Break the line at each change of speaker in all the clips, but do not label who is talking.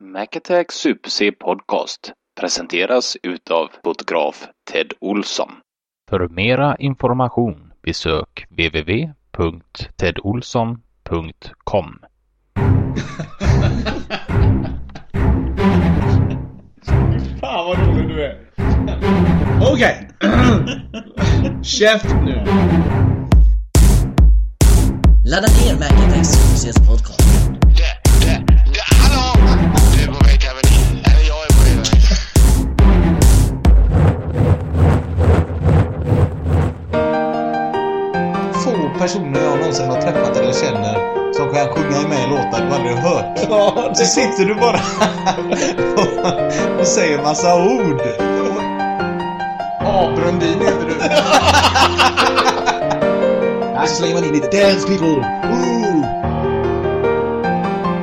Macattack Super C Podcast presenteras utav fotograf Ted Olsson.
För mera information besök www.tedolsson.com.
Fan vad rolig du är!
Okej! Käft nu!
Ladda ner Macintags Success Podcast.
Det, det, det, hallå! Du är på väg till haveri. Eller jag är på väg till haveri.
få personer jag någonsin har träffat eller känner som kan sjunga med i låtar du aldrig har hört.
Ja,
Så sitter du bara och, och säger massa ord.
Abrundin heter du.
Och så slänger man in lite dance people. Ooh.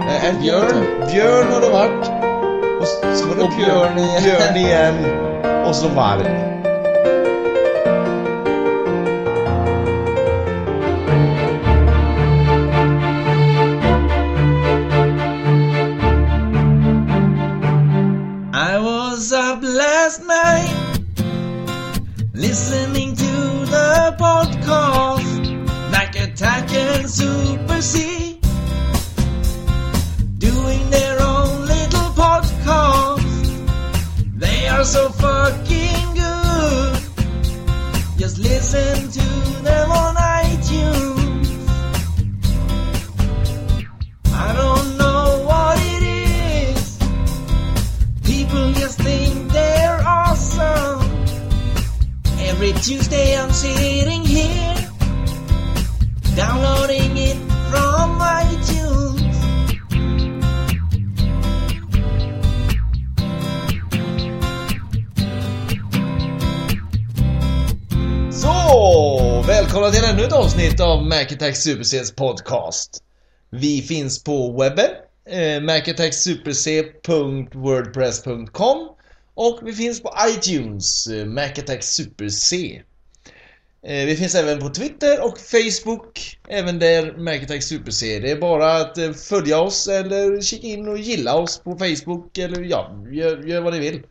Eh, En björn. Björn har det varit.
Och så så var det
Och björn igen.
Björn igen.
Och så varg.
I was up last night listening to the podcast Mac Attack and Super C doing their own little podcast. They are so fucking good. Just listen to them on iTunes. I don't know what it is. People just think they're awesome. Every Tuesday I'm sitting here, downloading it from iTunes.
Så! Välkomna till ännu ett avsnitt av Macattack SuperCs podcast. Vi finns på webben. Eh, macattacksuperc.wordpress.com Och vi finns på iTunes. Eh, Macattack SuperC. Eh, vi finns även på Twitter och Facebook. Även där Macattack SuperC. Det är bara att eh, följa oss eller kika in och gilla oss på Facebook. Eller ja, gör, gör vad ni vill.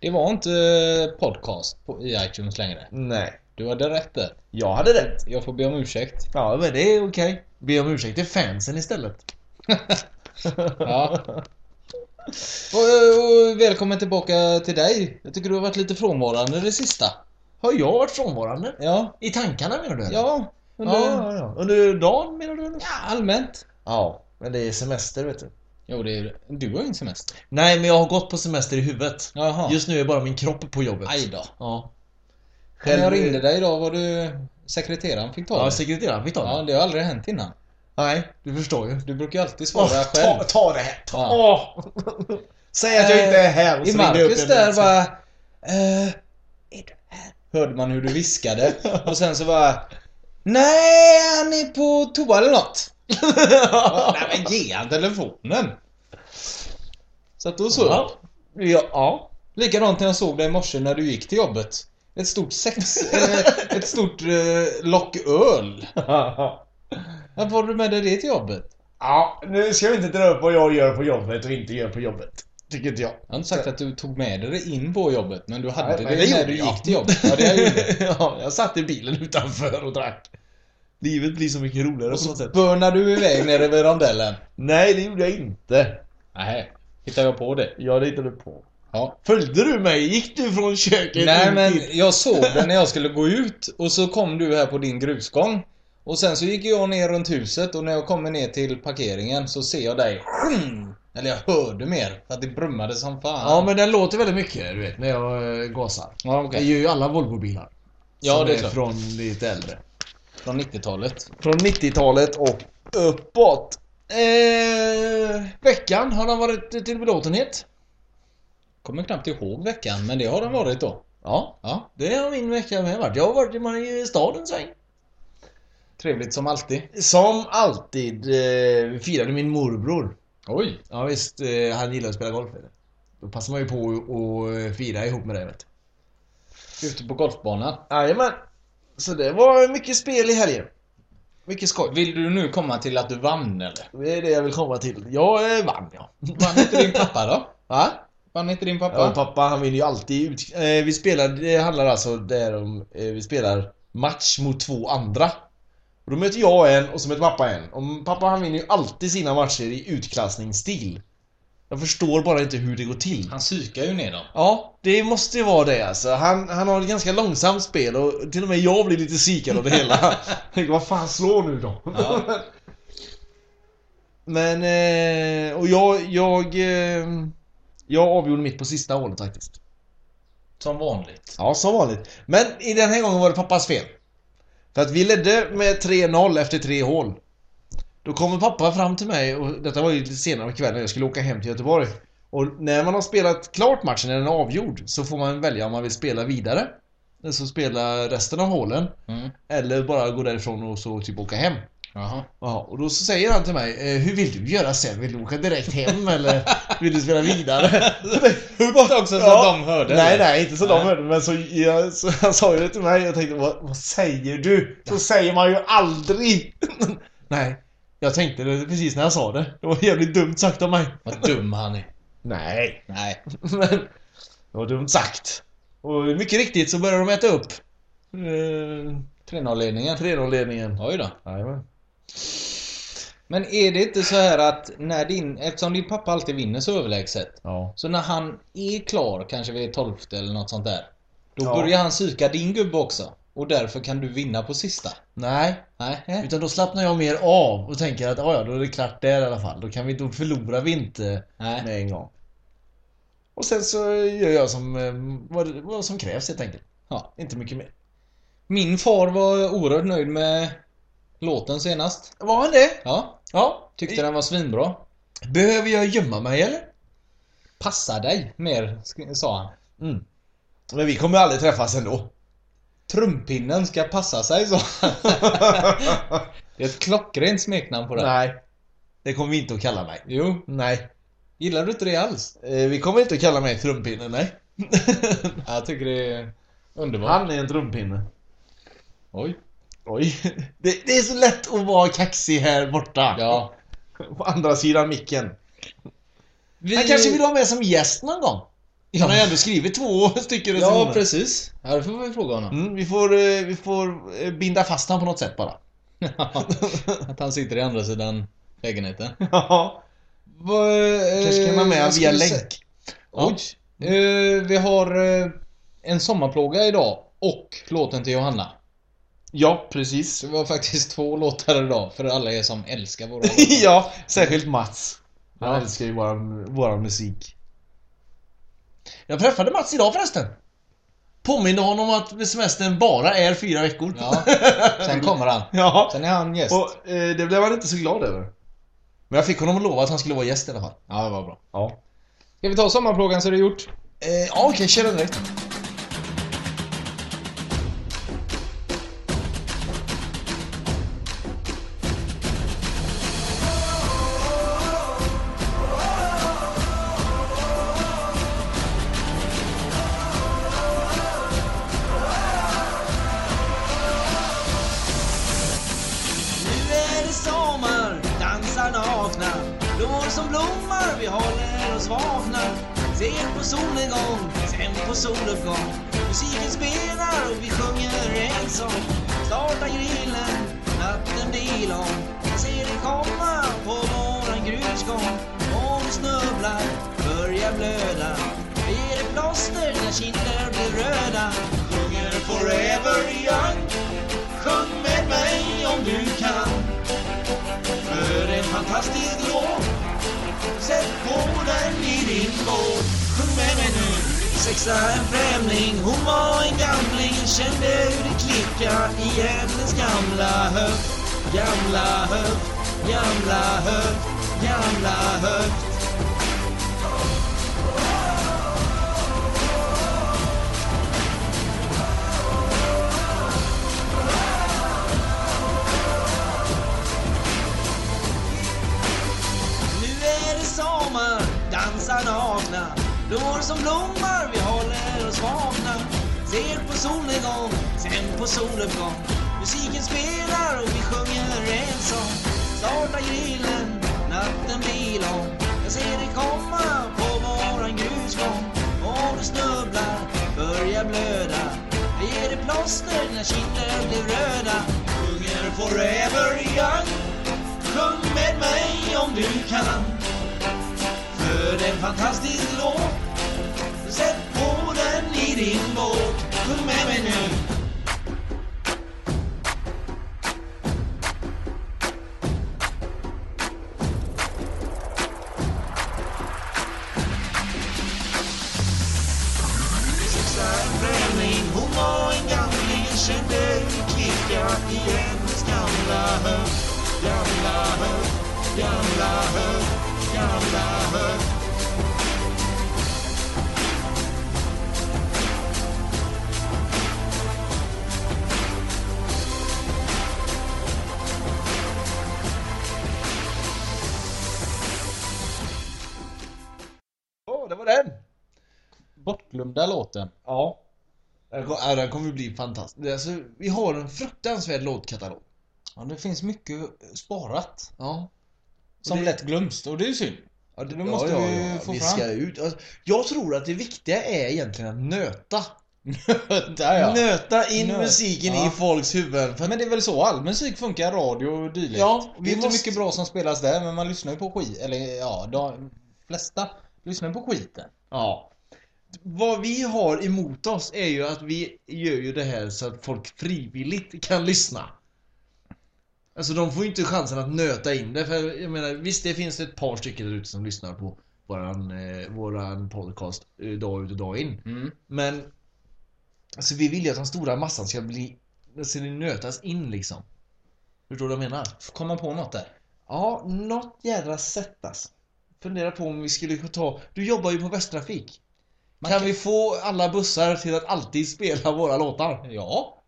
Det var inte eh, podcast på, i iTunes längre.
Nej,
Du hade rätt där.
jag hade rätt.
Jag får be om ursäkt.
Ja, men det är okej. Be om ursäkt till fansen istället.
Ja. Och, och, välkommen tillbaka till dig. Jag tycker du har varit lite frånvarande det sista.
Har jag varit frånvarande?
Ja.
I tankarna menar du? eller?
Ja.
Under, ja, ja. Under dagen menar du? eller?
Ja, allmänt.
Ja, men det är semester vet du.
Jo, det är, du har ju ingen semester.
Nej, men jag har gått på semester i huvudet.
Jaha.
Just nu är bara min kropp på jobbet.
Aj då.
Ja.
När jag ringde dig idag var du... Sekreteraren fick ta
Ja,
det.
sekreteraren fick ta
Ja,
det.
det har aldrig hänt innan.
Nej, du förstår ju.
Du brukar ju alltid svara
Åh,
själv.
ta, ta det här! Ta. Åh. Säg att
Eh,
jag inte är här! och
I
så ringde jag upp
Marcus
en-
där bara... Eh, är du här? Hörde man hur du viskade. Och sen så bara... Nej, han är på toa eller något. Ja, Nej men ge han telefonen. Så att då så.
Ja. Ja, ja.
Likadant när jag såg dig i morse när du gick till jobbet. Ett stort sex... eh, ett stort eh, lock öl. Varför har du med dig det till jobbet?
Ja, nu ska vi inte dra upp vad jag gör på jobbet och inte gör på jobbet. Tycker inte jag.
Jag har inte sagt att du tog med dig det in på jobbet, men du hade
Nej, men
det,
det
när
gjorde
du
jag.
gick till jobbet. Ja, det gjorde jag.
ja, jag satt i bilen utanför och drack. Livet blir så mycket roligare på
Och så
något sätt.
bönade du iväg nere vid rondellen.
Nej, det gjorde jag inte.
Nej, hittar jag på det?
Jag hittade på.
Ja.
Följde du mig? Gick du från köket
Nej
in
men
till-
jag såg det när jag skulle gå ut och så kom du här på din grusgång. Och sen så gick jag ner runt huset och när jag kommer ner till parkeringen så ser jag dig. Eller jag hörde mer för att det brummade som fan.
Ja, men den låter väldigt mycket, du vet, när jag eh, gasar.
Ja,
Det
okej.
gör ju alla Volvo-bilar.
Ja,
Som
det är klart.
Från lite äldre.
Från 90-talet.
Från 90-talet och uppåt. Eh, veckan, har den varit till belåtenhet?
Kommer knappt ihåg veckan men det har den varit då.
Ja,
Ja.
det har min vecka med varit. Jag har varit i Marie- staden sväng.
Trevligt som alltid.
Som alltid eh, vi firade min morbror.
Oj.
Ja visst, eh, han gillar att spela golf. Eller? Då passar man ju på att att fira ihop med det. vet du.
Ute på golfbanan.
Jajamän. Så det var mycket spel i helgen. Mycket skoj.
Vill du nu komma till att du vann eller?
Det är det jag vill komma till. Jag eh, vann ja.
Vann inte din pappa då?
Va?
Vann inte din
Ja,
pappa?
pappa han vinner ju alltid ut... Eh, vi spelar, det handlar alltså där om, eh, vi spelar match mot två andra. Och då möter jag en och så möter pappa en. Och pappa han vinner ju alltid sina matcher i utklassningsstil. Jag förstår bara inte hur det går till.
Han psykar ju ner dem.
Ja, det måste ju vara det alltså. Han, han har ett ganska långsamt spel och till och med jag blir lite psykad av det hela. Tänker, Vad fan, slå nu då!
Ja.
Men, eh, och jag, jag... eh, Jag avgjorde mitt på sista hålet faktiskt.
Som vanligt.
Ja, som vanligt. Men i den här gången var det pappas fel. För att vi ledde med 3-0 efter tre hål. Då kommer pappa fram till mig och detta var ju lite senare på kvällen, jag skulle åka hem till Göteborg. Och när man har spelat klart matchen, när den är avgjord, så får man välja om man vill spela vidare. Eller så spela resten av hålen.
Mm.
Eller bara gå därifrån och så typ åka hem.
Jaha.
Ja, och då så säger han till mig, eh, hur vill du göra sen? Vill du åka direkt hem eller vill du spela vidare?
Högt också så
Ja.
att de hörde.
Nej, nej, inte så
Nej.
de hörde. Men så, jag, så han sa ju det till mig. Jag tänkte, vad, vad säger du? Så säger man ju aldrig. nej, jag tänkte det precis när jag sa det. Det var jävligt dumt sagt av mig.
Vad dum han är.
Nej,
Nej.
men det var dumt sagt. Och mycket riktigt så började de äta upp eh,
3-0-ledningen.
3-0-ledningen.
Oj då.
Jajamän.
Men är det inte så här att när din, eftersom din pappa alltid vinner så överlägset.
Ja.
Så när han är klar, kanske vid 12 eller något sånt där. Då
Ja.
börjar han psyka din gubbe också. Och därför kan du vinna på sista.
Nej,
Nej. eh?
utan då slappnar jag mer av och tänker att "Ah, ja, då är det klart där i alla fall. Då kan vi, då förlorar vi inte
Nej.
med en gång. Och sen så gör jag som, eh, vad, vad som krävs helt enkelt.
Ja.
Inte mycket mer.
Min far var oerhört nöjd med låten senast.
Var han det?
Ja.
Ja.
Tyckte den var svinbra.
Behöver jag gömma mig eller?
Passa dig mer, sk- sa han.
Mm. Men vi kommer aldrig träffas ändå.
Trumpinnen ska passa sig, sa han. Det är ett klockrent smeknamn på den.
Nej. Det kommer vi inte att kalla mig.
Jo,
Nej.
gillar du inte det alls?
Eh, Vi kommer inte att kalla mig trumpinne, nej.
Jag tycker det är underbart.
Han är en trumpinne.
Oj.
Oj. Det, det är så lätt att vara kaxig här borta.
Ja.
På andra sidan micken.
Vi...
Han kanske vill ha med som gäst någon gång. Han har ju
Ja,
ändå skrivit två stycken
ja precis. Ja, det får vi fråga honom.
Mm, vi får, eh, vi får eh, binda fast han på något sätt bara.
Att han sitter i andra sidan lägenheten.
Ja. Kanske kan man med via länk.
Oj. vi har eh, en sommarplåga idag och låten till Johanna.
Ja, precis.
Så vi har faktiskt två låtar idag för alla er som älskar våra låtar.
ja, särskilt Mats. Han
Ja.
älskar ju våran, våran musik. Jag träffade Mats idag förresten. Påminner honom att semestern bara är fyra veckor.
Ja. Sen kommer han.
Ja.
Sen är han gäst.
Och eh, det blev han inte så glad över. Men jag fick honom att lova att han skulle vara gäst i alla fall.
Ja, det var bra.
Ja.
Ska vi ta sommarplågan så är det gjort?
Eh, ja, okej, kör den direkt.
Nu är det sommar, dansar nakna Blommor som blommar, vi håller oss vakna Ser på solnedgång, sen på soluppgång Musiken spelar och vi sjunger en sång Starta grillen, natten blir lång Jag ser dig komma på våran grusgång Om du snubblar, börjar blöda Ger dig plåster när kinder blir röda Sjunger forever young Sjung med mig om du kan För en fantastisk låt Sätt på den i din båt Sjung med mig nu Sexa en främling, hon var en gamling Kände hur det klicka i hennes gamla höft Gamla höft, gamla höft, gamla höft Nu är det sommar, dansar nakna Blommor som blommar, vi håller oss vakna Ser på solnedgång, sen på soluppgång Musiken spelar och vi sjunger en sång Starta grillen, natten blir lång Jag ser dig komma på våran grusgång Om du snubblar, börja blöda Jag ger dig plåster när kinden blir röda Sjunger forever young Sjung med mig om du kan För en fantastisk låt Sätt på den i din båt Sjung med mig nu bränning Hon var en gamling, kände hur klicka i hennes gamla höft Gamla höft, gamla höft, gamla höft
Åh, det var den!
Bortglömda låten.
Ja. Den kom- ja, den kommer bli fantastisk. Alltså, vi har en fruktansvärd låtkatalog.
Ja, det finns mycket sparat.
Ja.
Som
det-
lätt glöms. Och det är ju synd.
Ja, det,
Då måste vi få
vi
fram.
ska ut. Alltså, jag tror att det viktiga är egentligen att nöta.
Där ja.
Nöta in
Nöt-
musiken
ja.
i folks huvuden. För
Men det är väl så all musik funkar, radio och dylikt.
Ja,
det
vi
är inte
måste-
mycket bra som spelas där, men man lyssnar ju på skit. Eller ja, de flesta lyssnar på skiten.
Ja. Vad vi har emot oss är ju att vi gör ju det här så att folk frivilligt kan lyssna. Alltså de får ju inte chansen att nöta in det. För jag menar, visst det finns ett par stycken där ute som lyssnar på våran, eh, våran podcast eh, dag ut och dag in.
Mm.
Men alltså, vi vill ju att den stora massan ska bli, alltså, det nötas in liksom. Förstår du vad jag menar?
Får komma på något där.
Ja, något jädra sätt alltså. Fundera på om vi skulle kunna ta... Du jobbar ju på Västtrafik.
Man
kan
kan-
vi få alla bussar till att alltid spela våra låtar?
Ja.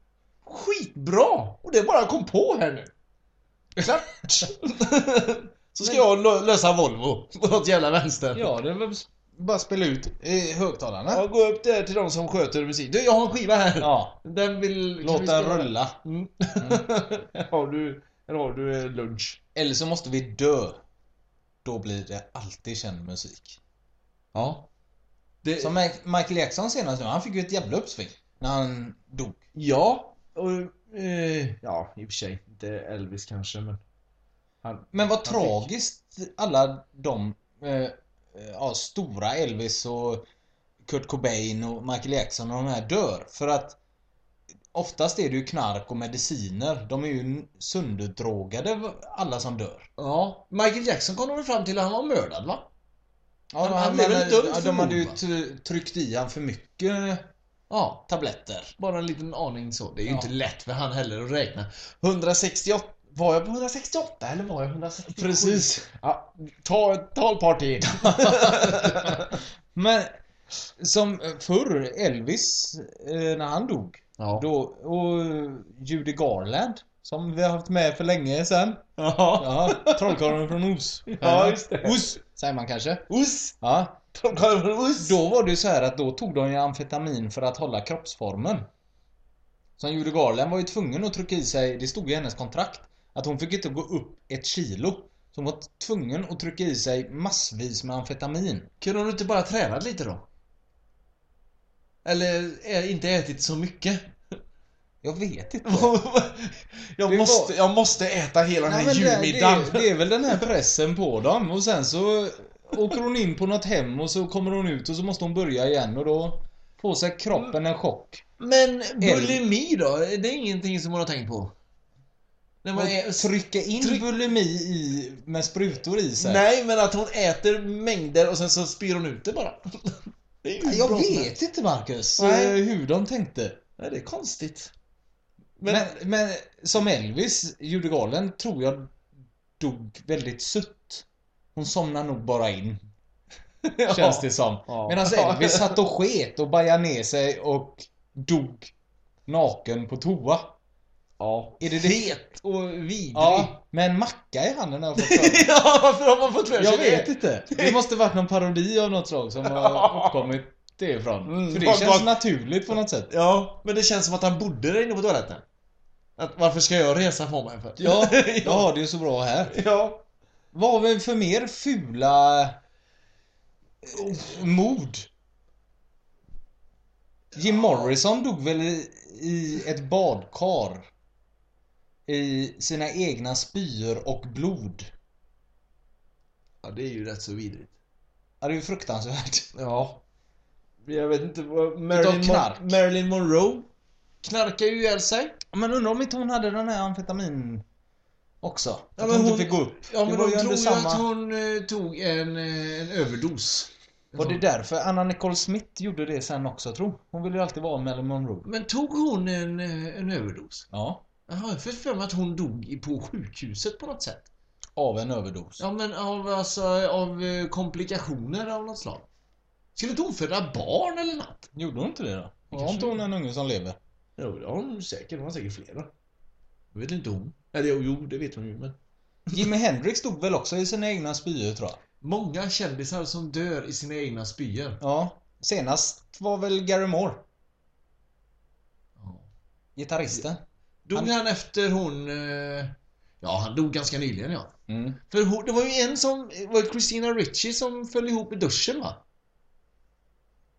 Skitbra! Och det bara kom på här nu. Klart! Så ska jag lö- lösa Volvo på något jävla vänster.
Ja, det är väl bara spela ut i högtalarna.
Ja, gå upp där till de som sköter musik. Du, jag har en skiva här!
Ja.
Den vill... kan vi
Låta
spela den?
rulla.
Mm. har du... Eller har du eh, lunch?
Eller så måste vi dö. Då blir det alltid känd musik.
Ja. Det...
Som Ma- Michael Jackson senast nu, han fick ju ett jävla uppsving när han dog.
Ja, och, eh, ja i och för sig. Inte Elvis kanske men... Han,
Men vad
fick-
tragiskt alla de eh, eh, ja, stora Elvis och Kurt Cobain och Michael Jackson och de här dör. För att oftast är det ju knark och mediciner. De är ju sönderdrogade alla som dör.
ja, Michael Jackson kom de väl fram till att han var mördad va?
Ja,
Han-
de-
han blev
men,
väl dömd
ja,
för
De hade ju
mord, va?
t- tryckt i han för mycket
Ja,
tabletter.
bara en liten aning så. Det är ju
Ja.
inte lätt för han heller att räkna. 168, var jag på 168 eller var jag 167?
Precis.
Ja, ta, ta ett par till.
Men som förr, Elvis, eh, när han dog.
Ja.
Då, och Judy Garland, som vi har haft med för länge sedan.
ja.
Ja, Trollkarlen från Oz.
Ja, just det.
Oz, säger man kanske.
Oss!
Ja.
De kallar för oss!
Då var det ju så här att då tog de ju amfetamin för att hålla kroppsformen. Som Judy Garland var ju tvungen att trycka i sig, det stod i hennes kontrakt, att hon fick inte gå upp ett kilo. Så hon var tvungen att trycka i sig massvis med amfetamin.
Kunde hon inte bara tränat lite då? Eller eh, inte ätit så mycket?
Jag vet inte.
jag,
Det
måste,
var-
jag måste äta hela den här
Nej, men det-
julmiddagen.
Det, det är väl den här pressen på dem och sen så åker hon in på något hem och så kommer hon ut och så måste hon börja igen och då får sig kroppen en chock.
Men bulimi då? Det är ingenting som man har tänkt på? När man är...
Och trycka in
tryck-
bulimi i, med sprutor i sig.
Nej, men att hon äter mängder och sen så spyr hon ut det bara. det är ju
Jag
bra som
vet
helst.
inte Marcus
Nej.
eh, hur de tänkte.
Nej, det är konstigt. Men,
Men, men, som Elvis, Judy Garland, tror jag dog väldigt sött. Hon somnar nog bara in, känns det som.
Ja.
Medan Elvis satt och sket och bajade ner sig och dog naken på toa.
Ja.
Är det det?
Fet och vidrig.
Ja, med en macka i handen har jag fått för mig.
ja, varför har man fått för sig
Jag
det?
vet inte. Det måste varit någon parodi av något slag som har uppkommit det ifrån.
Mm.
För det
Vad-
känns
vad-
naturligt på något sätt.
Ja, men det känns som att han bodde där inne på toaletten. Att varför ska jag resa på mig för?
Ja, jag har det ju så bra här.
ja.
Vad har vi för mer fula... eh, Mord? Jim Morrison dog väl i- i ett badkar? I sina egna spyor och blod.
ja, det är ju rätt så vidrigt.
Ja, det är ju fruktansvärt.
Ja. Jag vet inte vad...
Utav
Marilyn,
knark.
Mon- Marilyn Monroe knarkar ju ihjäl sig.
Men undrar om inte hon hade den här amfetamin också? Att
men
hon
hon-
inte fick gå upp.
Ja, men de
var ju under
tror ju
samma-
att hon eh, tog en, eh, en överdos.
Var det därför Anna Nicole Smith gjorde det sen också, tro? Hon ville ju alltid vara Marilyn Monroe.
Men tog hon en, eh, en överdos?
Ja.
Jaha, jag fick för mig att hon dog i- på sjukhuset på något sätt.
Av en överdos.
Ja, men av, alltså, av eh, komplikationer av något slag. Skulle inte hon föda barn eller något?
Gjorde hon inte det då? Har
kanske
inte hon en unge som lever?
Jo, det har hon säkert. Hon har säkert flera. Det vet inte hon. Eller jo, jo, det vet hon ju, men...
Jimi Hendrix dog väl också i sina egna spyor tror jag.
Många kändisar som dör i sina egna spyor.
Ja. Senast var väl Gary Moore,
Ja.
gitarristen.
Dog han...
Han-
efter hon... eh, Ja, han dog ganska nyligen ja.
Mm.
För hon, det var ju en som... det var ju Christina Ricci som föll ihop i duschen va?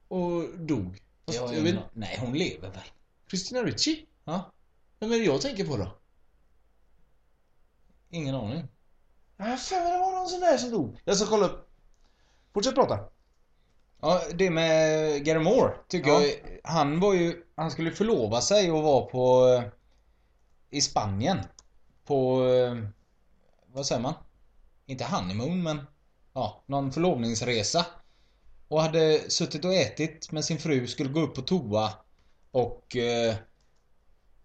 Och dog. Fast, jag vet,
Nej, hon lever väl?
Christina Ricci?
Ja.
Vem är det jag tänker på då?
Ingen aning.
Ja, fan det var någon sån där som dog. Jag ska kolla upp. Fortsätt prata.
Ja, det med Gary Moore tycker
Ja.
jag. Han var ju, han skulle förlova sig och vara på eh, i Spanien. På, eh, vad säger man? Inte honeymoon men ja, någon förlovningsresa. Och hade suttit och ätit med sin fru, skulle gå upp på toa och eh,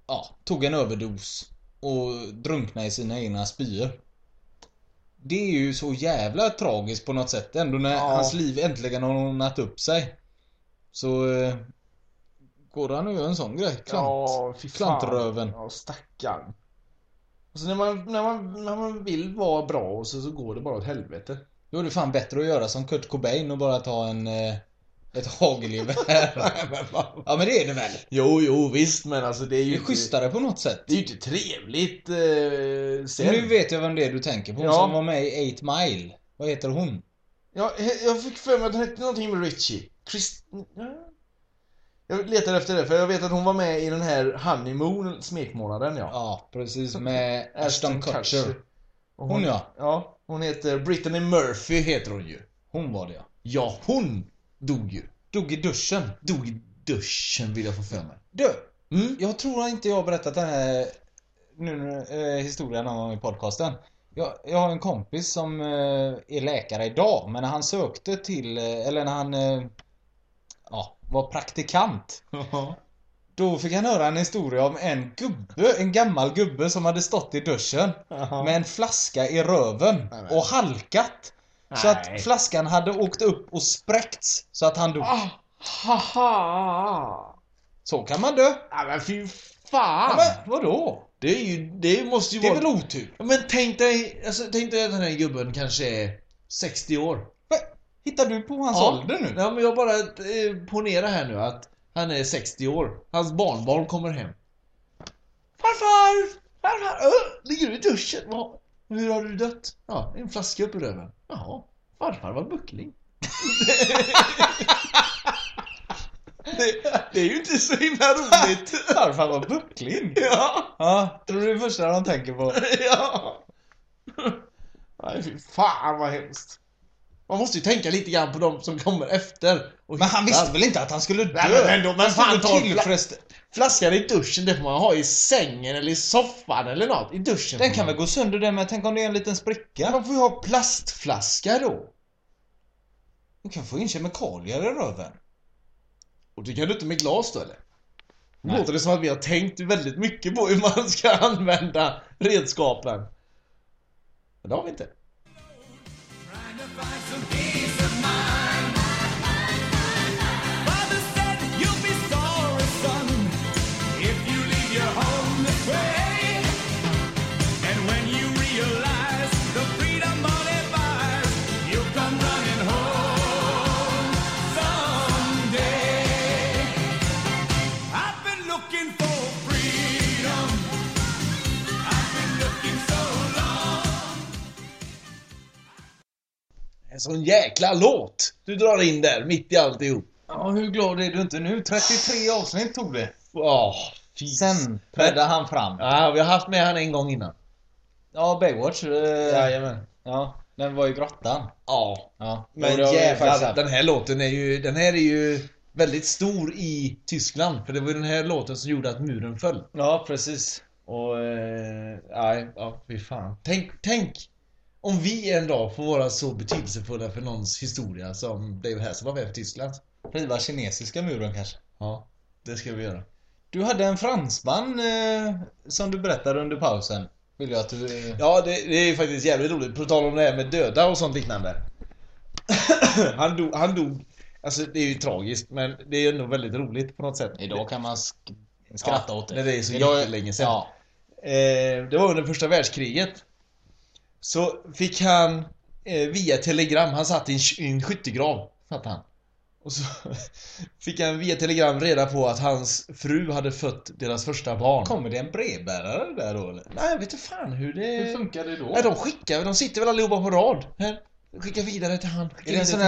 ja, tog en överdos och drunknade i sina egna spyor. Det är ju så jävla tragiskt på något sätt ändå när
Ja.
hans liv äntligen har ordnat upp sig. Så eh, går han och gör en sån grej. Klant.
fy
Klantröven.
Ja, stackarn. Alltså när man, när, man, när man vill vara bra och så, så går det bara åt helvete.
Då är det fan bättre att göra som Kurt Cobain och bara ta en... eh, Ett hagelgevär. ja men det är det väl?
Jo, jo, visst men alltså det är ju
Det är
inte-
schysstare på något sätt.
Det är ju inte trevligt eh, sen.
Nu vet jag vem det är du tänker på. Hon
Ja.
som var med i 8 Mile. Vad heter hon?
Ja, he- jag fick för mig att hon hette någonting med Richie. Chris... ja. Jag letar efter det för jag vet att hon var med i den här honeymoon, smekmånaden ja.
Ja, precis. Med Ashton Kutcher.
Och
Hon ja.
Ja, hon heter Brittany Murphy heter hon ju.
Hon var det ja.
Ja, hon dog ju.
Dog i duschen.
Dog i duschen vill jag få för mig.
Du!
Mm.
Jag tror inte jag har berättat den här nu, eh, historien någon gång i podcasten. Jag, jag har en kompis som eh, är läkare idag, men när han sökte till, eh, eller när han eh, ja, var praktikant. Då fick han höra en historia om en gubbe, en gammal gubbe som hade stått i duschen med en flaska i röven
Nej, men.
och halkat. Så
Nej.
att flaskan hade åkt upp och spräckts så att han dog.
Ah, haha.
Så kan man dö.
Ja, men fy
Ja,
fan.
men vadå?
det är ju, det måste ju
Det är
vara...
väl otur?
Ja, Men tänk dig, alltså, tänk dig att den här gubben kanske är 60 år.
Va? Hittar du på hans
Ja.
ålder nu?
Ja, men jag bara eh, ponera här nu att han är 60 år. Hans barnbarn kommer hem. Farfar! Farfar! Ö, ligger du i duschen? Va? Hur har du dött? Ja, en flaska upp i röven. Jaha, farfar var buckling. det, det är ju inte så himla roligt.
Farfar var buckling.
ja,
Ja, tror du det är första de tänker på?
ja. Nej, fy fan vad hemskt. Man måste ju tänka lite grann på de som kommer efter. Och
Men han
hittar.
visste väl inte att han skulle dö?
Nej, men, men, då, men
han
fan ta
skulle
en fla-
tillfredsställa...
flaskan i duschen, det får man ha i sängen eller i soffan eller något. I duschen.
Den
får
kan
man-
väl gå sönder den men tänk om det är en liten spricka?
Man får ju ha plastflaska då.
Du kan få in kemikalier i röven.
Och det kan du inte med glas då eller? Nu låter det som att vi har tänkt väldigt mycket på hur man ska använda redskapen. Men det har vi inte.
I've been looking for freedom
sån jäkla låt du drar in där mitt i alltihop.
Ja, hur glad är du inte nu? 33 avsnitt tog det.
Ja, fy.
Sen trädde han fram.
Ja, vi har haft med han en gång innan.
Ja, Baywatch. eh,
Jajamän.
Ja, den var i grottan.
Ja,
Ja.
men
Jo, det har vi faktiskt
jävlar.
haft.
Den här låten är ju, den här är ju väldigt stor i Tyskland. För det var ju den här låten som gjorde att muren föll.
Ja, precis.
Och eh, nej, ja fy fan. Tänk, tänk om vi en dag får vara så betydelsefulla för någons historia som David Hasselhoff är för Tyskland.
Riva kinesiska muren kanske.
Ja, det ska vi göra.
Du hade en fransman eh, som du berättade under pausen. Vill jag att du... eh,
Ja, det, det är ju faktiskt jävligt roligt. På tal om det här med döda och sånt liknande. han, dog, han dog. Alltså det är ju tragiskt men det är ändå väldigt roligt på något sätt.
Idag kan man sk- skratta
Ja,
åt det.
men det är så
Idag
jättelänge sedan.
Ja.
Eh, det var under första världskriget. Så fick han eh, via telegram, han satt i en, sk- i en skyttegrav. Satt han. Och så fick han via telegram reda på att hans fru hade fött deras första barn.
Kommer det en brevbärare där då eller?
Nej, jag vet inte fan hur det...
Hur funkar det då?
Nej, de skickar väl, de sitter väl allihopa på rad. Här, skicka vidare till han. skicka
Är det
vidare
en sån
till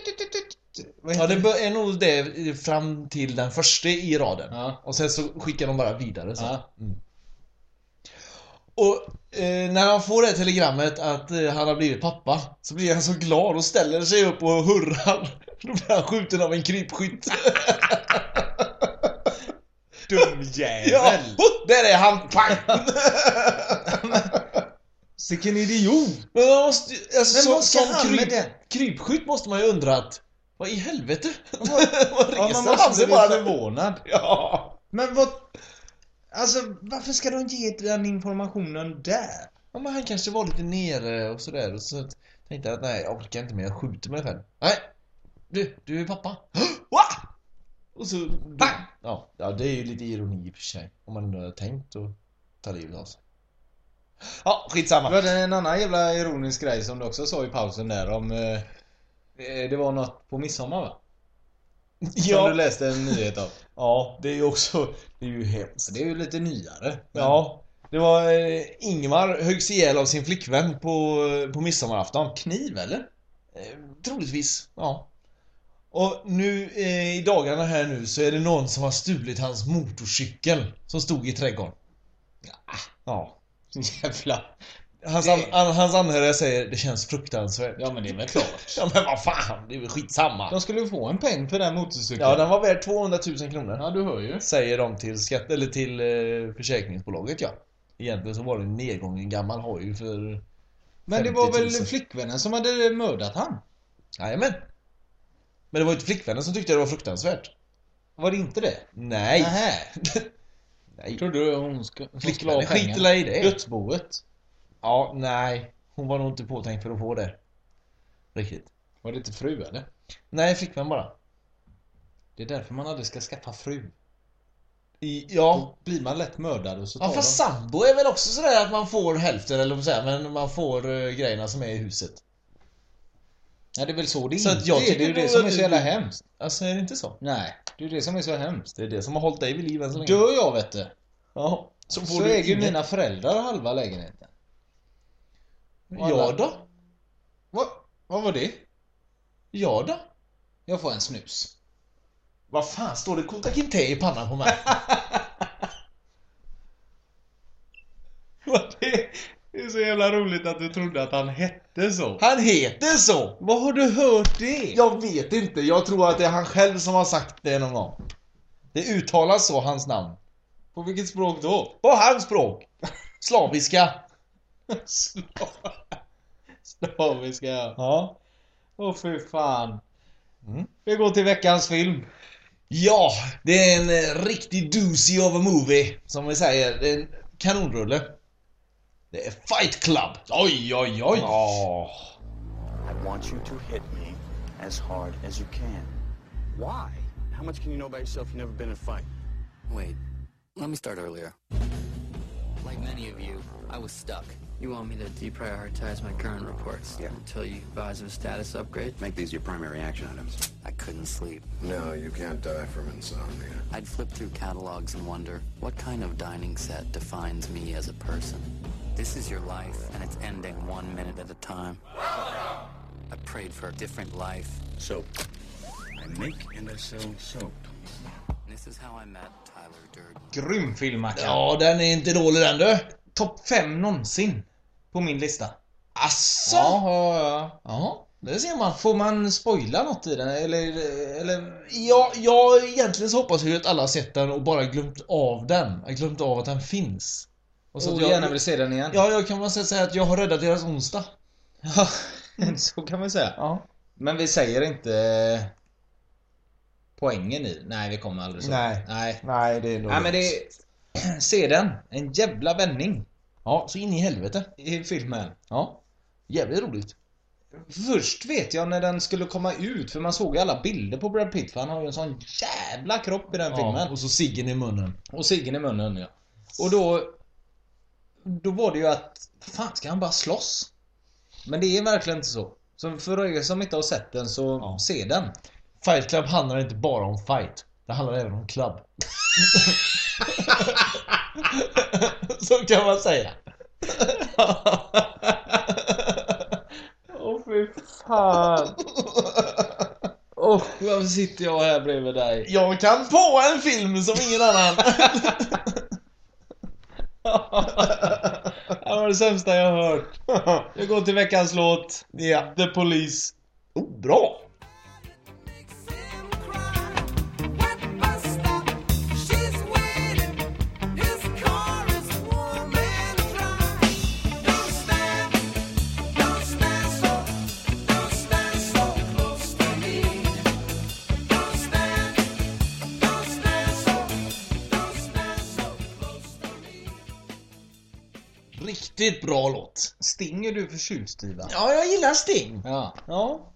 här...
han. Ja, det bör- är nog det fram till den första i raden.
Ja.
Och sen så skickar de bara vidare så.
Ja.
Och eh, när han får det här telegrammet att eh, han har blivit pappa så blir han så glad och ställer sig upp och hurrar. Då blir han skjuten av en krypskytt.
Dum
ja,
jävel!
oh, där är han! Pang!
Sicken idiot!
Men man måste, ju- alltså,
Men
som,
vad ska
som
han med
kryp,
det?
krypskytt måste man ju undra att vad i helvete? Vad
Ja, man
reser han
måste
sig
bli
bara?
förvånad.
Ja.
Men vad... Alltså varför ska de ge den informationen där?
ja, men han kanske var lite nere och sådär och så tänkte jag att nej, jag orkar inte mer, jag skjuter mig själv. Nej, du, du är pappa. Va? Och så... Bang! Ja, ja, det är ju lite ironi i och för sig. Om man ändå hade tänkt att ta livet av sig. Ja,
Du
skitsamma.
hade en annan jävla ironisk grej som du också sa i pausen där om... Eh, eh, det var något på midsommar va? Som
Ja,
du läste en nyhet av.
ja, det är ju också... Det är ju hemskt.
Det är ju lite nyare. Men-
Ja, det var eh, Ingmar höggs ihjäl av sin flickvän på, eh, på midsommarafton.
Kniv eller?
Eh, troligtvis, ja. Och nu eh, i dagarna här nu så är det någon som har stulit hans motorcykel som stod i trädgården. Ja.
Jävla...
Hans,
Det-
an, an, hans anhöriga säger det känns fruktansvärt.
Ja men det är väl klart.
Ja men vad fan, det är väl skitsamma.
De skulle ju få en peng för den motorcykeln.
Ja, den var värd 200 000 kronor.
ja du hör ju.
Säger de till, skatt, eller till eh, försäkringsbolaget ja. Egentligen så var det en nedgång i en gammal hoj för...
Men det var
50
väl
000.
flickvännen som hade mördat han?
Jajamän. Men det var ju inte flickvännen som tyckte det var fruktansvärt.
Var det inte det?
Nej.
Nähä.
Nej.
Trodde du hon skulle...
Flickvännen skiter i det.
Dödsboet.
Ja, nej. Hon var nog inte påtänkt för att få det. Riktigt.
Var det inte fru eller?
Nej, flickvän bara.
Det är därför man aldrig ska skaffa fru.
I, ja.
Då blir man lätt mördad och så tar
Ja, fast sambo är väl också sådär att man får hälften, eller vad man säger, men man får eh, grejerna som är i huset.
Ja, det är väl så det
Så
inte
att jag
är. Det är
tycker
ju det
nog
som
att
är så
du-
jävla hemskt.
Alltså, är det inte så?
Nej, det är ju det som är så hemskt.
Det är det som har hållit dig vid liv än så länge.
Alltså, Dör jag vet du,
Ja. Så får
så
du
äger ju
ingen-
mina föräldrar halva lägenheten.
Ja då.
Vad, vad var det?
Ja då.
Jag får en snus.
Vad fan står det Kota Kinte i pannan på mig?
Det är så jävla roligt att du trodde att han hette så.
Han heter så!
Vad har du hört det?
Jag vet inte, jag tror att det är han själv som har sagt det någon gång. Det uttalas så, hans namn.
På vilket språk då?
På hans språk! Slaviska.
Slaviska.
Ja.
Åh fy fan.
Mm.
Vi går till veckans film.
Ja, det är en eh, riktig doozy of a movie. Som vi säger, det är en kanonrulle. Det är Fight Club. Oj, oj, oj. Ja.
I want you to hit me as hard as you can.
Why?
How much can you know about yourself? You've never been in a fight.
Wait, let me start earlier. Like many of you, I was stuck. You want me to deprioritize my current reports
Yeah.
until you advise of a status upgrade?
Make these your primary action items.
I couldn't sleep.
No, you can't die from insomnia.
I'd flip through catalogs and wonder what kind of dining set defines me as a person. This is your life, and it's ending one minute at a time. I prayed for a different life.
Soap. I make and I sell soap.
And this is how I met Tyler Durden.
Grym film, Mackan.
Ja, den är inte dålig den du.
Topp 5 någonsin. På min lista.
Asså?
Ja, ja, ja.
Ja, det ser man.
Får man spoila något i den? Eller, eller...
Ja, jag egentligen så hoppas jag ju att alla har sett den och bara glömt av den. Jag glömt av att den finns.
Och
så
så
att
jag
jag-
gärna vill se den igen.
Ja, jag kan väl säga att jag har räddat deras onsdag.
Ja, så kan man säga.
Ja.
Men vi säger inte eh, poängen i Nej, vi kommer aldrig så.
Nej.
Nej.
Nej, det är
Nej, men det Se den! En jävla vändning
Ja, så in i helvete.
i filmen.
Ja. Jävligt roligt.
Först vet jag när den skulle komma ut, för man såg ju alla bilder på Brad Pitt för han har ju en sån jävla kropp i den filmen.
Ja, och så ciggen i munnen.
Och ciggen i munnen ja. Och då... Då var det ju att... Fan, ska han bara slåss? Men det är verkligen inte så. Så för er som inte har sett den så
Ja.
se den.
Fight Club handlar inte bara om fight. Det handlar även om club. så kan man säga.
Åh oh, fy fan. Åh, varför sitter jag här bredvid dig?
Jag kan på en film som ingen annan.
Det var det sämsta jag har hört. Jag går till veckans låt.
ja. The Police. Oh, bra! Riktigt bra låt.
Sting är du förtjust i va?
Ja, jag gillar Sting.
Ja.
Ja.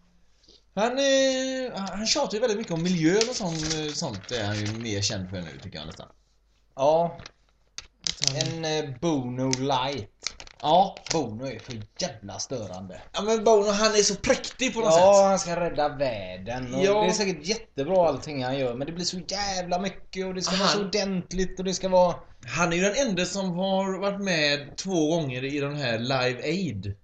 Han, eh, han tjatar ju väldigt mycket om miljön och sånt, sånt är han ju mer känd för nu tycker jag nästan. Mm.
Ja. En eh, Bono light. Ja. Bono är för jävla störande.
Ja men Bono han är så präktig på något
Ja,
sätt.
han ska rädda världen. Och
Ja.
Det är säkert jättebra allting han gör, men det blir så jävla mycket och det ska vara så
Han-
ordentligt och det ska vara...
Han är ju den enda som har varit med två gånger i den här Live Aid.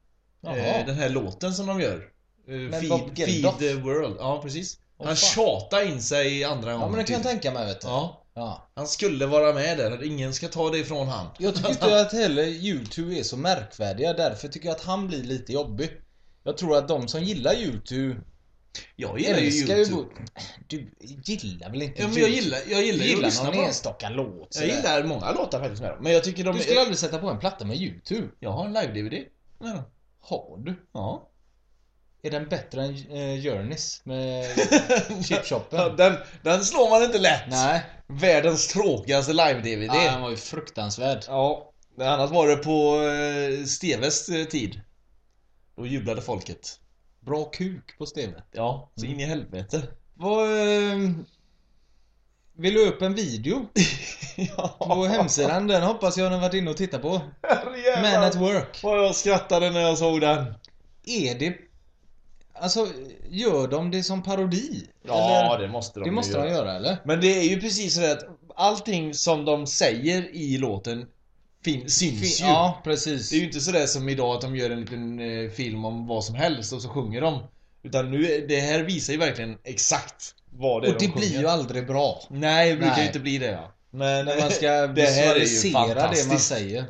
Jaha.
Eh, den här låten som de gör. Eh,
Bob
feed, feed
Geldof.
the World. Ja precis.
Åh,
han
fan.
tjatar in sig i andra
Ja,
gången
men det kan jag
till.
tänka mig vet du.
Ja.
Ja.
Han skulle vara med där. Ingen ska ta det ifrån han.
Jag tycker inte att heller YouTube är så märkvärdiga, därför tycker jag att han blir lite jobbig. Jag tror att de som gillar YouTube
Jag gillar ju
älskar
YouTube.
Bo- Du gillar väl inte
Ja men jag
YouTube?
gillar, jag gillar, ju att lyssna
gillar
på
någon
dem.
enstaka låt
Jag
sådär.
gillar många låtar faktiskt med dem. Men jag tycker de...
Du skulle aldrig sätta på en platta med YouTube?
Jag har en live-DVD med dem.
Har du?
Ja.
Är den bättre än eh, Journeys med
Ja,
Chipshoppen?
den, den slår man inte lätt.
Nej.
Världens tråkigaste live-DVD.
Ja, den var ju fruktansvärd.
Ja, men annars var det på eh, Steves eh, tid. Då jublade folket.
Bra kuk på Steve.
Ja, så in i helvete.
Vad... eh, Vi la upp en video på hemsidan. Den hoppas jag ni har varit inne och tittat på. Man at
Herrejävlar
work.
vad jag skrattade när jag såg den.
Är det... Alltså, gör de det som parodi?
Ja,
eller?
det måste de
det
ju
måste de göra eller?
Men det är ju precis så att allting som de säger i låten fin- syns ju.
Ja, precis.
Det är ju inte sådär som idag att de gör en liten eh, film om vad som helst och så sjunger de. Utan nu, är- det här visar ju verkligen exakt vad det är
och
de
det blir
sjunger.
ju aldrig bra.
Nej, det brukar
Nej.
ju inte bli det ja. Men
När man ska
det här är ju
visualisera det man
fantastiskt.
säger.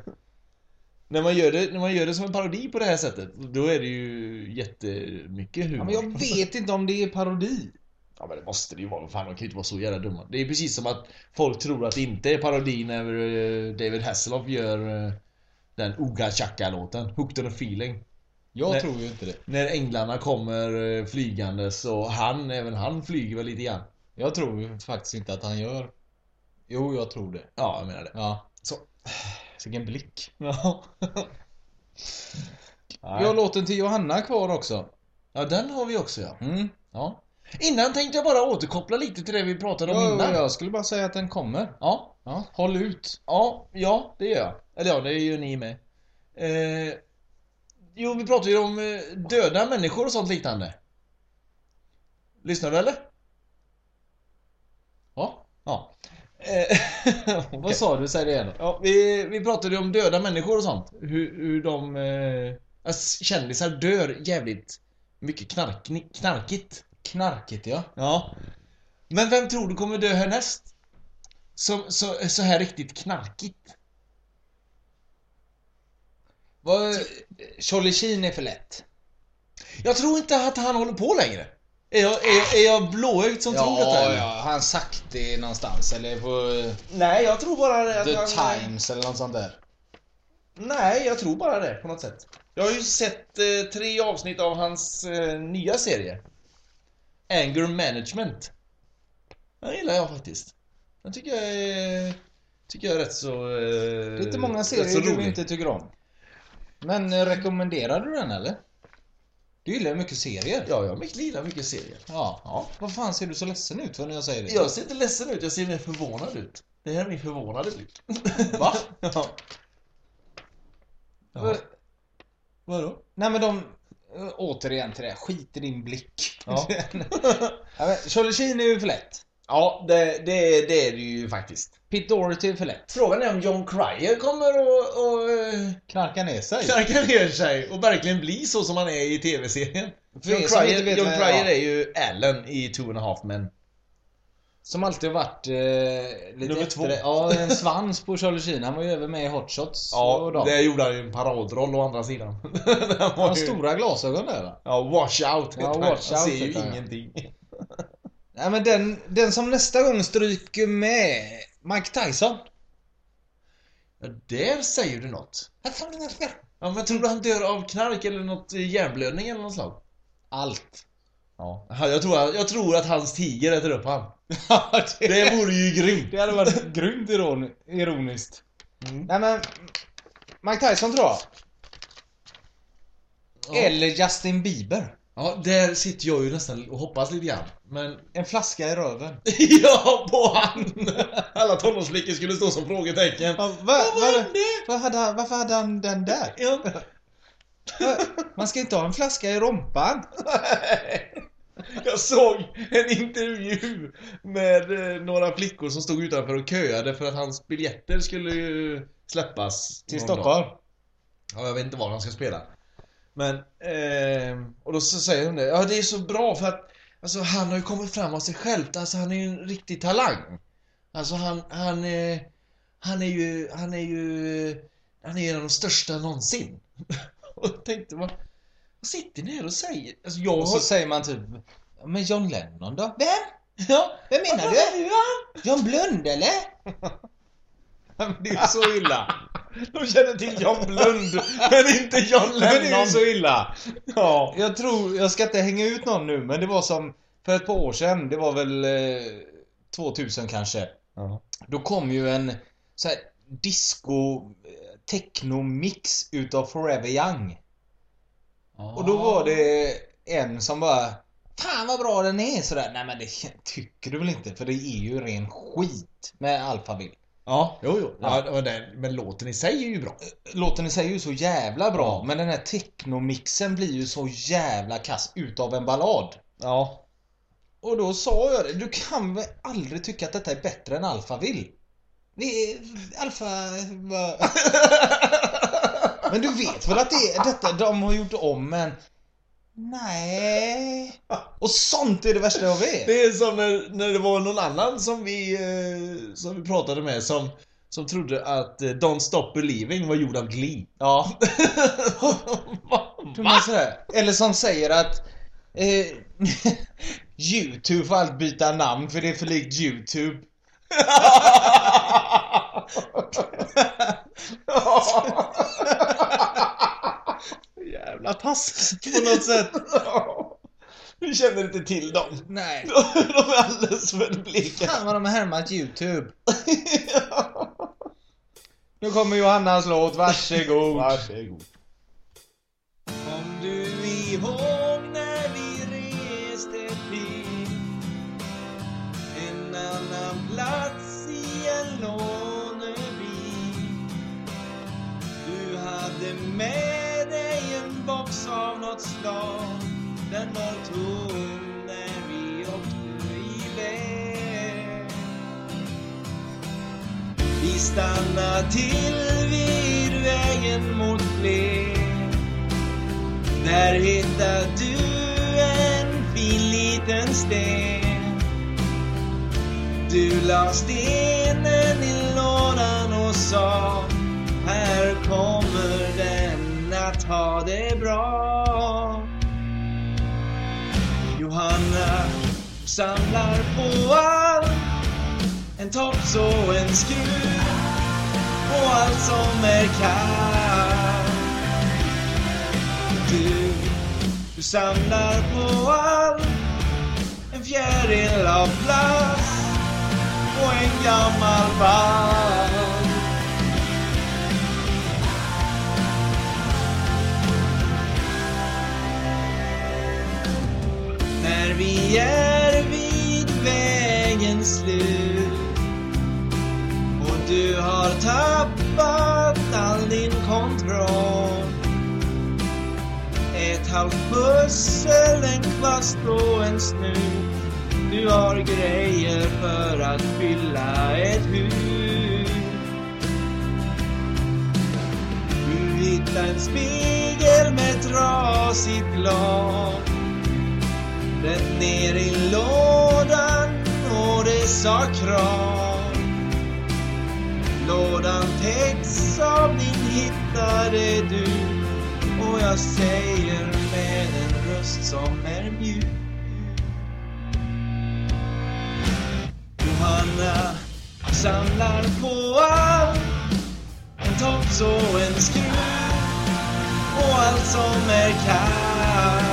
När man, gör det, när man gör det som en parodi på det här sättet, då är det ju jättemycket humor.
Ja, men jag vet inte om det är parodi.
Ja, men det måste det ju vara. Fan, de kan ju inte vara så jävla dumma. Det är precis som att folk tror att det inte är parodi när eh, David Hasselhoff gör eh, den Oga Chaka-låten, Hooked on a feeling.
Jag
Nej.
tror ju inte det.
När änglarna kommer eh, flygandes och han, även han flyger väl lite grann.
Jag tror ju faktiskt inte att han gör... Jo, jag tror det.
Ja, jag menar det.
Ja.
Så.
Vilken blick.
Ja.
Vi har låten till Johanna kvar också.
ja, den har vi också ja.
Mm.
ja. Innan tänkte jag bara återkoppla lite till det vi pratade om
Ja,
innan.
Jag skulle bara säga att den kommer.
Ja,
Ja. Håll ut.
ja, ja, det gör jag. Eller ja, det gör ni med. Eh, jo, vi pratade ju om eh, döda människor och sånt liknande. Lyssnar du eller? Ja. ja. Eh,
Vad sa du? Säg det igen då.
Ja, vi, vi pratade ju om döda människor och sånt. Hur, hur de... Eh, att kändisar dör alltså, jävligt Mycket knark, knarkigt.
Knarkigt ja.
Ja. Men vem tror du kommer dö härnäst? Som, så, så här riktigt knarkigt.
Vad... Charlie Sheen är för lätt.
Jag tror inte att han håller på längre. Är jag, är, jag- är jag blåögd som tror detta?
Ja,
eller?
ja. Han sagt det någonstans. Eller på eh,
Nej, jag tror bara att
The
han...
Times eller något sånt där.
Nej, jag tror bara det på något sätt. Jag har ju sett eh, tre avsnitt av hans eh, nya serie. Anger Management. Den gillar jag faktiskt. Den tycker jag är, tycker jag är rätt så... Eh,
Lite många
rätt så
serier du
rolig.
inte tycker om. Men eh, rekommenderar du den eller? Du gillar ju mycket serier.
Ja, jag mycket- gillar mycket serier.
Ja. Vad fan ser du så ledsen ut för när jag säger det?
Jag ser inte ledsen ut, jag ser mer förvånad ut. Det här är min förvånade blick.
Va?
ja.
Ja.
Vadå?
Nej men de... eh, Återigen till det, skit i din blick.
Ja.
Ja, men Charlie Sheen är ju för lätt.
Ja, det, det, det är det ju faktiskt.
Pete Doherty är för lätt.
Frågan är om John Cryer kommer och, och eh,
Knarka ner sig.
knarka ner sig och verkligen bli så som han är i tv-serien.
För
John
er som
Cryer,
inte vet
John
vem-
Cryer
ja.
är ju Allen i Two and a Half Men.
Som alltid har varit eh, lite
Nummer
efter
två.
det. Ja, en svans på Charlie Sheen. Han var ju även med i Hot Shots och
Ja,
dem.
där gjorde han ju en paradroll å andra sidan. Den
Han
var
har
ju-
stora glasögon där va?
Ja, Watch Out
Ja,
heter
Watch
han. Han
Out
ser ju
heter han, ja.
ingenting.
Nej men den, den som nästa gång stryker med Mike Tyson.
Ja, där säger du något. Ja, men tror du han dör av knark eller något eh, hjärnblödning eller något slag?
Allt.
Ja. Jag tror, jag tror att hans tiger äter upp han. Det vore ju grymt.
Det hade varit grymt iron, ironiskt.
Mm.
Nej men... Mike Tyson tror jag. Eller Justin Bieber.
Ja, där sitter jag ju nästan och hoppas lite grann. Men...
En flaska i röven.
ja, på han! Alla tonårsflickor skulle stå som frågetecken.
Ja, va,
Vad
va,
hände?
vad hade, han- varför hade han den där?
Ja.
Va- Man ska inte ha en flaska i rumpan.
Jag såg en intervju med eh, några flickor som stod utanför och köade för att hans biljetter skulle ju släppas.
Till
någon dag.
Stockholm.
Ja, jag vet inte var han ska spela. Men, ehm, och då så säger hon det. Ja, det är så bra för att alltså, han har ju kommit fram av sig själv. Alltså, han är ju en riktig talang. Alltså, han, han, eh, han är ju, han är ju, han är ju en av de största någonsin. och jag tänkte, vad, vad sitter ni här och säger? Alltså, jag
Och så
har...
säger man typ... "Ja, Men John Lennon då? Vem?
Ja,
Vem menar du? John Blund eller?
det är ju så illa. De känner till John Blund, men inte John Lennon.
Men det är ju så
illa. Ja.
Jag tror, jag ska inte hänga ut någon nu men det var som för ett par år sedan, det var väl eh, 2000 kanske.
Ja.
Då kom ju en så här disco eh, techno-mix utav Forever Young.
Ah.
Och då var det en som bara Fan vad bra den är sådär. Nej men det tycker du väl inte för det är ju ren skit med Alphaville.
Ja, jo, jo. Ja. och den, men låten i sig är ju bra.
Låten i sig är ju så jävla bra
Ja.
men den här technomixen blir ju så jävla kass utav en ballad.
Ja.
Och då sa jag det, du kan väl aldrig tycka att detta är bättre än Alphaville? Det är... Alpha... va- Men du vet väl att det är detta de har gjort om men... Nej. Och sånt är det värsta jag vet.
Det är som när, när det var någon annan som vi, eh, som vi pratade med som, som trodde att eh, Don't Stop Believing var gjord av Glee.
Ja. Tror man sådär. Eller som säger att... Eh, Youtube får allt byta namn för det är för likt Youtube.
Jävla taskigt på något sätt. Vi känner inte till dem.
Nej.
De är alldeles för bleka.
Fan vad de har härmat Youtube. Nu kommer Johannas låt, varsågod.
Varsågod.
Kom du ihåg när vi reste till en annan plats i en låneby? Du hade med dig en box av något slag. Den var tom när vi åkte iväg. Vi stannade till vid vägen mot Flen. Där hittar du en sten. Du la stenen i lådan och sa Här kommer den att ha det bra. Johanna samlar på allt. En tops och en skruv och allt som är kallt. Du, du samlar på allt. En fjäril av plast och en gammal vall. När vi är vid vägens slut och du har tappat all din kontroll Ett halvt pussel, en kvast och en snut Du har grejer för att fylla ett hus Du hittar en spegel med trasigt glas den ner i lådan och det sa kram. Lådan täcks av din hittade du och jag säger med en röst som är mjuk. Johanna samlar på allt. En tops och en skruv och allt som är kallt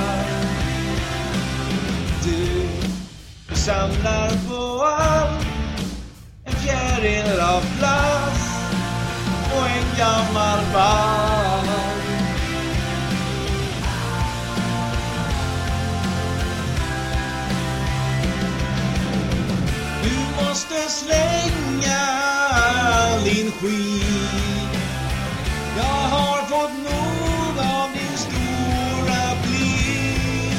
du Du samlar på allt En fjäril av plast och en gammal ball Du måste slänga all din skit Jag har fått nog av din stora blick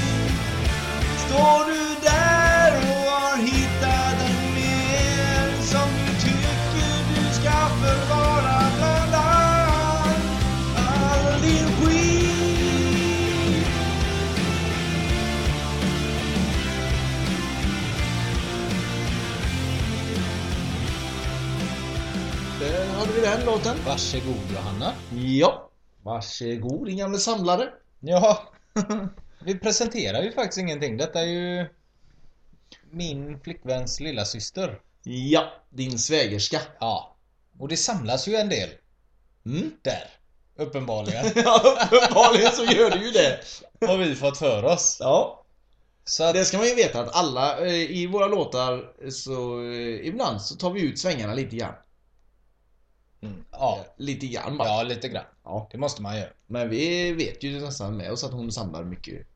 Står du där och har hittat en mer som du tycker du ska förvara bland allt? All din skit.
Där hade vi den låten.
Varsågod Johanna.
Ja. Varsågod din gamle samlare.
Ja. Vi presenterar ju faktiskt ingenting. Detta är ju min flickväns lilla syster.
Ja, din svägerska.
Ja. Och det samlas ju en del.
Mm.
Där. Uppenbarligen.
Ja, uppenbarligen så gör du ju det.
Har vi fått för oss.
Ja.
Så att,
Det ska man ju veta att alla eh, i våra låtar så eh, ibland så tar vi ut svängarna lite grann.
ja.
Lite grann bara.
Mm. Ja, lite grann.
Ja.
Det måste man göra.
Men vi vet ju nästan med oss att hon samlar mycket,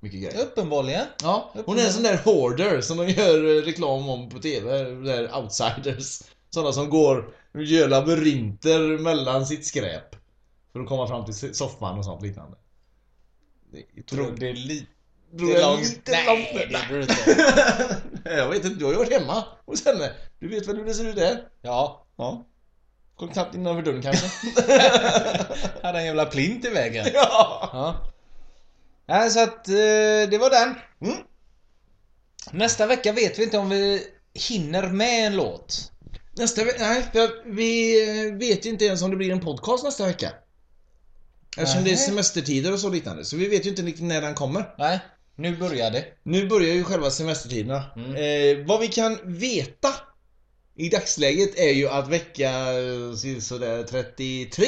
mycket grejer.
Uppenbarligen.
Ja, hon är en sån där hoarder som de gör eh, reklam om på TV. eh, Där outsiders. Sådana som går gör labyrinter mellan sitt skräp. För att komma fram till soffan och sånt liknande. Det
Drog
drog,
det lite
drog jag
långt.
lite
Nej,
långt.
det
Nej.
gjorde det inte.
jag vet inte, du har ju varit hemma hos henne. Du vet väl hur det ser ut där?
Ja.
Ja. Kom knappt innanför dörren kanske.
Hade en jävla plint i vägen.
ja.
Ja. Nej, så att eh, det var den.
Mm.
Nästa vecka vet vi inte om vi hinner med en låt.
Nästa vecka, nej för vi eh, vet ju inte ens om det blir en podcast nästa vecka. Eftersom det är
Nej.
semestertider och så liknande. Så vi vet ju inte riktigt när den kommer.
Nej, nu börjar det. Mm.
Nu börjar ju själva semestertiderna. Eh, vad vi kan veta i dagsläget är ju att vecka eh, sådär 33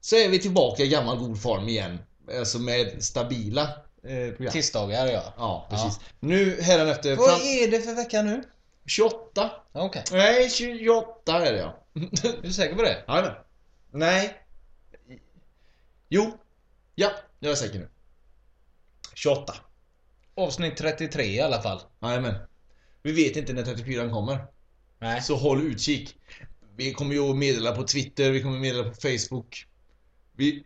så är vi tillbaka i gammal god form igen. Alltså med stabila eh, program.
Tisdagar ja.
Ja, precis. Nu hädanefter...
Vad
fram-
är det för vecka nu?
28?
Okej.
Nej, 28 är det ja.
Är du säker på det?
Jajamän. Nej. Jo. Ja, jag är säker nu. 28.
Avsnitt 33 i alla fall.
Jajamän. Vi vet inte när 34 kommer.
Nej.
Så håll utkik. Vi kommer ju att meddela på Twitter, vi kommer att meddela på Facebook. Vi,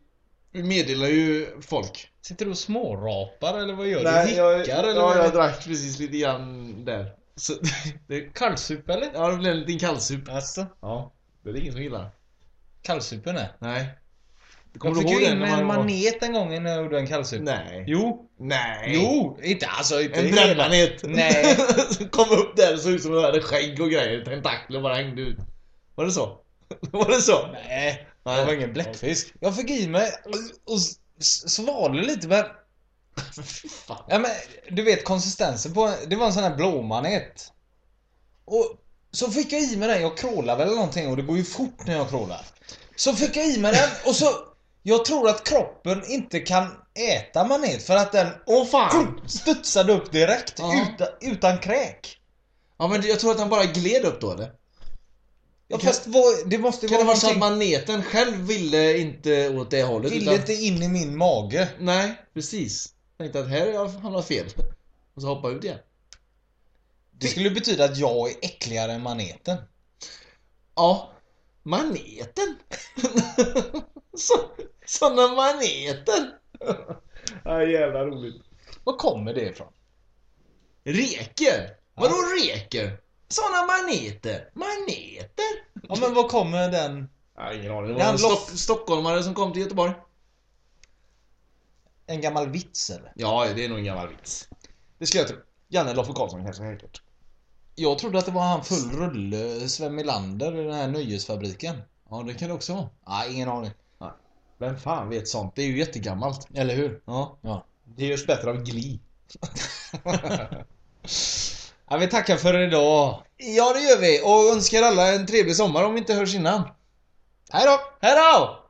vi meddelar ju folk.
Sitter du och smårapar eller vad gör du? Hickar
jag,
eller?
ja,
vad?
jag drack precis lite grann där. Så, det,
Kallsup eller?
ja, det blev en liten kallsup.
Alltså.
Ja, det är det ingen som gillar.
Kallsupen är.
Nej.
Jag
Kommer
fick
du ihåg
ju
den
in
när
med
man
en
var-
manet en gång innan jag gjorde en kallsup.
Nej.
Jo.
Nej.
Jo. Inte alltså inte
En
hela.
brännmanet.
Nej.
Kom upp där och såg ut som om hade skägg och grejer. Tentakler bara hängde ut. Var det så? Var det så?
Nej.
Nej.
Det var ingen bläckfisk. Jag fick i mig och s- s- svalde lite men...
Fan.
Ja men du vet konsistensen på Det var en sån här blåmanet. Och så fick jag i mig den. Jag crawlar väl eller någonting och det går ju fort när jag crawlar. Så fick jag i mig den och så... Jag tror att kroppen inte kan äta manet för att den
Åh fan!
studsade upp direkt
Ja.
utan, utan kräk.
Ja men jag tror att han bara gled upp då eller?
Ja,
Kan-
fast vad, det måste
Kan det vara så att
någonting-
maneten själv ville inte åt det hållet?
ville inte in i min mage.
Nej, precis. Tänkte att här har jag hamnat fel. Och så hoppa ut igen.
Det skulle betyda att jag är äckligare än maneten.
Ja. Maneten! så, såna maneter! ja, jävla roligt.
Var kommer det ifrån?
Reker? Vadå reker? Såna maneter! Maneter!
Ja men var kommer den?
Ja, ingen aning. Det
Ja,
var en
loss-
stock, stockholmare som kom till Göteborg.
En gammal vits eller?
Ja, det är nog en gammal vits.
Det skulle jag tro.
Janne Loffe Karlsson kanske säkert.
Jag trodde att det var han full rulle, Sven Melander i den här nöjesfabriken.
Ja, det kan det också vara.
Nej, ingen aning.
Vem fan vet sånt? Det är ju jättegammalt.
Eller hur?
Ja.
Ja.
Det görs bättre av Gli.
ja vi tackar för idag.
Ja, det gör vi. Och önskar alla en trevlig sommar om vi inte hörs innan. Hej då! Hej då!